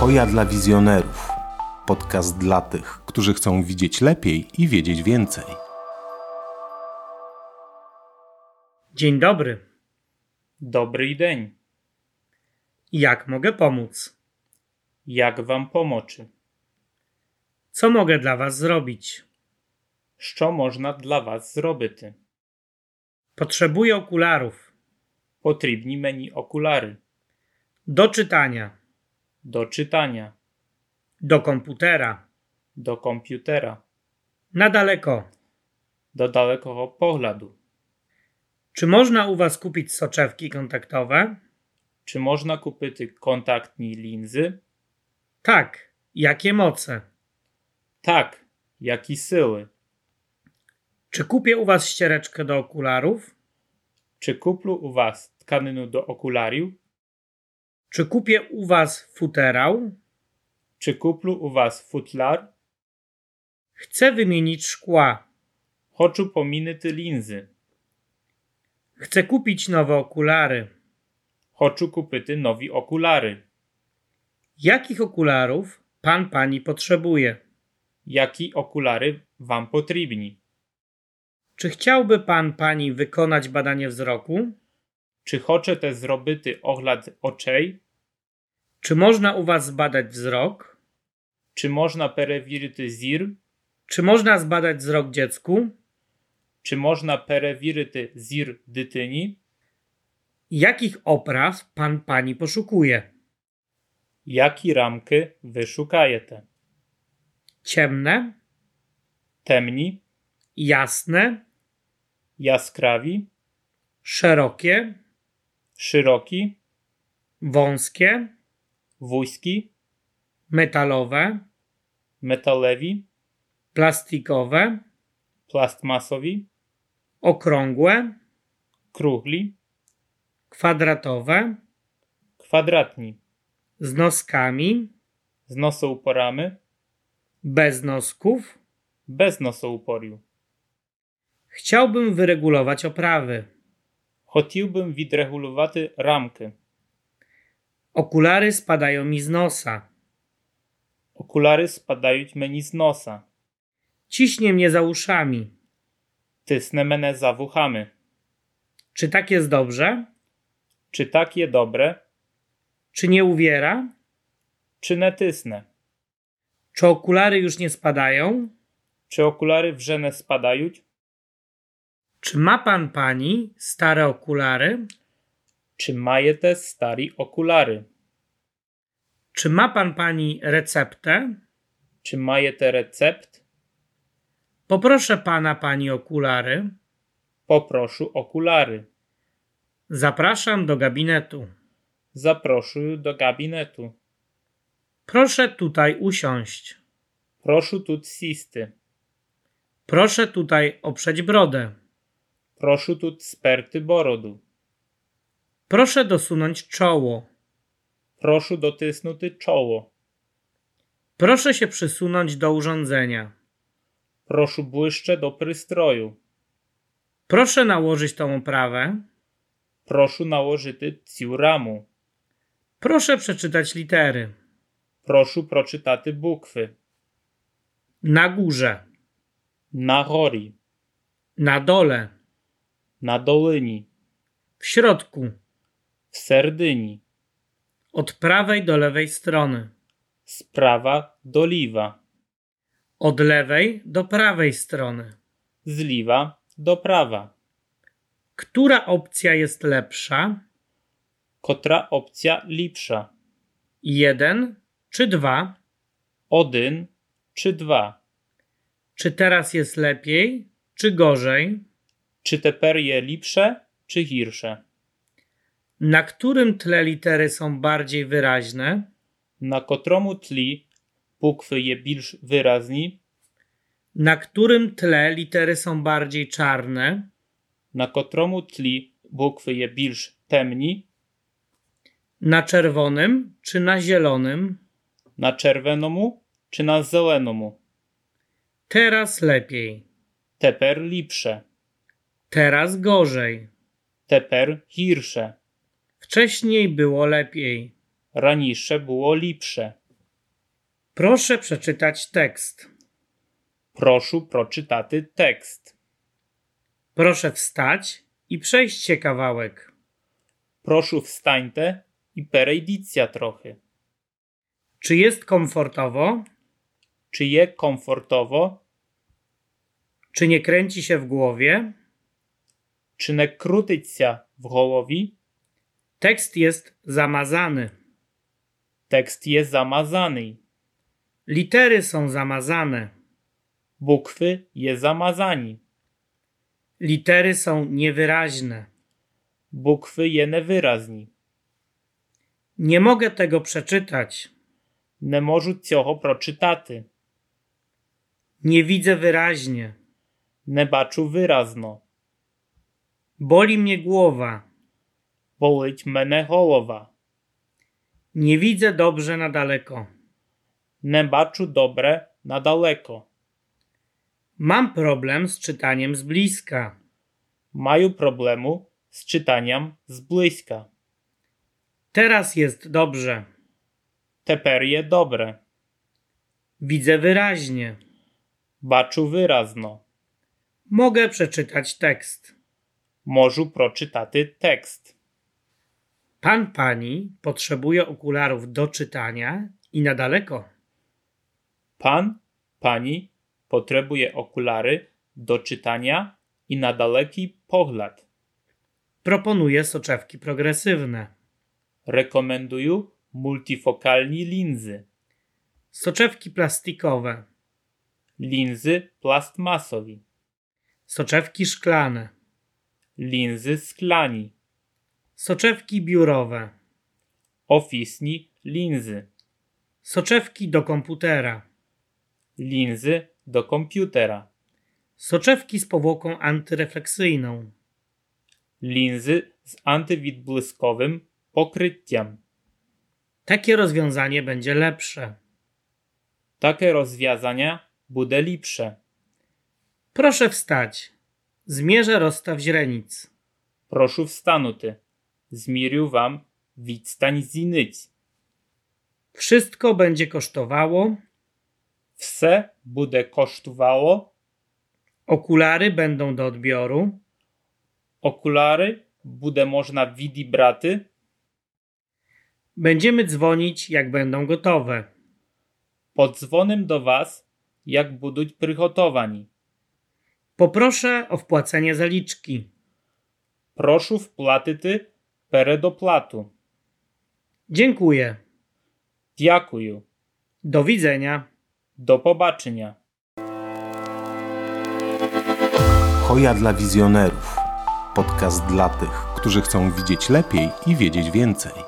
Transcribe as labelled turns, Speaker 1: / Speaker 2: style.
Speaker 1: Koja dla wizjonerów. Podcast dla tych, którzy chcą widzieć lepiej i wiedzieć więcej.
Speaker 2: Dzień dobry.
Speaker 3: Dobry dzień.
Speaker 2: Jak mogę pomóc?
Speaker 3: Jak wam pomoczy?
Speaker 2: Co mogę dla was zrobić?
Speaker 3: Що можна для was зробити?
Speaker 2: Potrzebuję okularów.
Speaker 3: Потрібні мені окуляри
Speaker 2: Do czytania.
Speaker 3: до читання,
Speaker 2: Do komputera.
Speaker 3: до комп'ютера,
Speaker 2: Na daleko.
Speaker 3: до далекого погляду.
Speaker 2: Czy można u was kupić soczewki kontaktowe?
Speaker 3: Чи можна купити контактні лінзи?
Speaker 2: Tak. Jakie moce?
Speaker 3: Так, які сили.
Speaker 2: Czy kupię u was ściereczkę do okularów?
Speaker 3: Чи куплю у вас тканину до окулярів?
Speaker 2: Czy kupię u was futerał?
Speaker 3: Чи куплю у вас футляр?
Speaker 2: Chcę wymienić szkła.
Speaker 3: Хочу помінити лінзи.
Speaker 2: Chcę kupić nowe okulary.
Speaker 3: Хочу купити нові окуляри.
Speaker 2: Jakich okularów pan pani potrzebuje?
Speaker 3: Які окуляри вам потрібні?
Speaker 2: Czy chciałby pan pani wykonać badanie wzroku?
Speaker 3: Чи хочете зробити огляд очей?
Speaker 2: Czy można u was zbadać wzrok?
Speaker 3: Чи можна перевірити зір?
Speaker 2: Czy można zbadać wzrok dziecku?
Speaker 3: Чи можна перевірити зір дитині?
Speaker 2: Jakich opraw pan pani poszukuje?
Speaker 3: Які рамки ви шукаєте?
Speaker 2: Ciemne,
Speaker 3: Темні,
Speaker 2: jasne,
Speaker 3: яскраві,
Speaker 2: szerokie,
Speaker 3: широкі,
Speaker 2: wąskie,
Speaker 3: вузькі,
Speaker 2: metalowe,
Speaker 3: металеві,
Speaker 2: plastikowe,
Speaker 3: пластмасові,
Speaker 2: okrągłe,
Speaker 3: круглі,
Speaker 2: kwadratowe,
Speaker 3: квадратні,
Speaker 2: z noskami,
Speaker 3: з носоупорами,
Speaker 2: bez nosków?
Speaker 3: без носоупорів?
Speaker 2: Chciałbym wyregulować oprawy.
Speaker 3: Хотів би відрегулювати рамки.
Speaker 2: Okulary spadają mi z nosa.
Speaker 3: Окуляри спадають мені з носа.
Speaker 2: Ciśnie mnie za uszami.
Speaker 3: Тисне мене за вухами.
Speaker 2: Czy tak jest dobrze?
Speaker 3: Czy tak je dobre,
Speaker 2: Czy nie uwiera?
Speaker 3: czy nie tysnę?
Speaker 2: Czy okulary już nie spadają?
Speaker 3: Czy okulary wrze nie spadają?
Speaker 2: Czy ma pan pani stare okulary?
Speaker 3: Czy maje te stari okulary?
Speaker 2: Czy ma pan pani receptę?
Speaker 3: Czy maje te recept?
Speaker 2: Poproszę pana pani okulary.
Speaker 3: Poproszę okulary.
Speaker 2: Zapraszam do gabinetu.
Speaker 3: Zaproszę do gabinetu.
Speaker 2: Proszę tutaj usiąść.
Speaker 3: Proszę tu sisty.
Speaker 2: Proszę tutaj oprzeć brodę.
Speaker 3: Proszę tu sperty borodu.
Speaker 2: Proszę dosunąć czoło.
Speaker 3: Proszę dotysnuty czoło.
Speaker 2: Proszę się przysunąć do urządzenia.
Speaker 3: Proszę błyszcze do przystroju.
Speaker 2: Proszę nałożyć tą oprawę.
Speaker 3: Proszę nałożyty ciu ramu.
Speaker 2: Proszę przeczytać litery.
Speaker 3: Proszę proczytaty bukwy.
Speaker 2: Na górze,
Speaker 3: Na gori.
Speaker 2: na dole,
Speaker 3: Na dolyni.
Speaker 2: w środku,
Speaker 3: W serdyni.
Speaker 2: od prawej do lewej strony.
Speaker 3: Sprawa doliwa.
Speaker 2: Od lewej do prawej strony.
Speaker 3: z lewa do prawa.
Speaker 2: Która opcja jest lepsza?
Speaker 3: Kotra opcja lipsza?
Speaker 2: Jeden czy dwa?
Speaker 3: Odyn czy dwa?
Speaker 2: Czy teraz jest lepiej, czy gorzej?
Speaker 3: Czy teper je lipsze czy hirsze?
Speaker 2: Na którym tle litery są bardziej wyraźne?
Speaker 3: Na kotromu tli bukwy je bilż wyraźni,
Speaker 2: Na którym tle litery są bardziej czarne?
Speaker 3: na kotromu tli bukwy je bilż temni,
Speaker 2: Na czerwonym czy na zielonym?
Speaker 3: na czerwenomu czy na zelenomu?
Speaker 2: Teraz lepiej,
Speaker 3: Teper lipsze,
Speaker 2: teraz gorzej.
Speaker 3: teper hirsze,
Speaker 2: Wcześniej było lepiej,
Speaker 3: ranisze było lipsze,
Speaker 2: Proszę przeczytać tekst.
Speaker 3: Proszę proczytaty tekst.
Speaker 2: Proszę wstać i przejść się kawałek.
Speaker 3: Proszę wstańte i perejdicja trochę.
Speaker 2: Czy jest komfortowo?
Speaker 3: Czy je komfortowo?
Speaker 2: Czy nie kręci się w głowie?
Speaker 3: Czy ne krutyć się w głowie?
Speaker 2: Tekst jest zamazany.
Speaker 3: Tekst jest zamazany.
Speaker 2: Litery są zamazane.
Speaker 3: Bukwy je zamazani.
Speaker 2: Litery są niewyraźne.
Speaker 3: Bukwy je newyrazni.
Speaker 2: Nie mogę tego przeczytać.
Speaker 3: Не можу цього прочитати.
Speaker 2: Nie widzę wyraźnie.
Speaker 3: Не бачу виразно.
Speaker 2: Boli mnie głowa.
Speaker 3: Болить мене голова.
Speaker 2: Nie widzę dobrze na daleko.
Speaker 3: Не бачу добре надалеко.
Speaker 2: Mam problem z czytaniem z bliska.
Speaker 3: Маю проблему з читанням зблизька.
Speaker 2: Teraz jest dobrze.
Speaker 3: Тепер є добре.
Speaker 2: Widzę wyraźnie.
Speaker 3: Бачу виразно.
Speaker 2: Mogę przeczytać tekst.
Speaker 3: Можу прочитати текст.
Speaker 2: Pan pani potrzebuje okularów do czytania i na daleko.
Speaker 3: Pan, pani потребує окуляри до читання і на далекий погляд.
Speaker 2: Proponuje soczewki progresywne.
Speaker 3: Рекомендую мультифокальні лінзи.
Speaker 2: Soczewki plastikowe.
Speaker 3: Лінзи пластмасові.
Speaker 2: Soczewki szklane.
Speaker 3: Лінзи скляні.
Speaker 2: Soczewki biurowe.
Speaker 3: Офісні лінзи.
Speaker 2: Soczewki do komputera.
Speaker 3: Лінзи до комп'ютера.
Speaker 2: Soczewki z powłoką antyrefleksyjną.
Speaker 3: Лінзи з антивідблисковим покриттям.
Speaker 2: Takie rozwiązanie będzie lepsze.
Speaker 3: Таке розв'язання буде ліпше.
Speaker 2: Proszę wstać. Zmierzę rozstaw źrenic.
Speaker 3: Прошу встанути. Змірю вам відстань зіниць.
Speaker 2: Wszystko będzie kosztowało.
Speaker 3: Все буде коштувало.
Speaker 2: Okulary będą do odbioru.
Speaker 3: Окуляри буде можна відібрати.
Speaker 2: Będziemy dzwonić, jak będą gotowe.
Speaker 3: Подзвоним до вас, як будуть приготовані.
Speaker 2: Poproszę o wpłacenie zaliczki.
Speaker 3: Прошу вплатити передоплату.
Speaker 2: Dziękuję.
Speaker 3: Дякую.
Speaker 2: Do widzenia.
Speaker 3: До побачення.
Speaker 1: Hoja dla wizjonerów. Podcast dla tych, którzy chcą widzieć lepiej i wiedzieć więcej.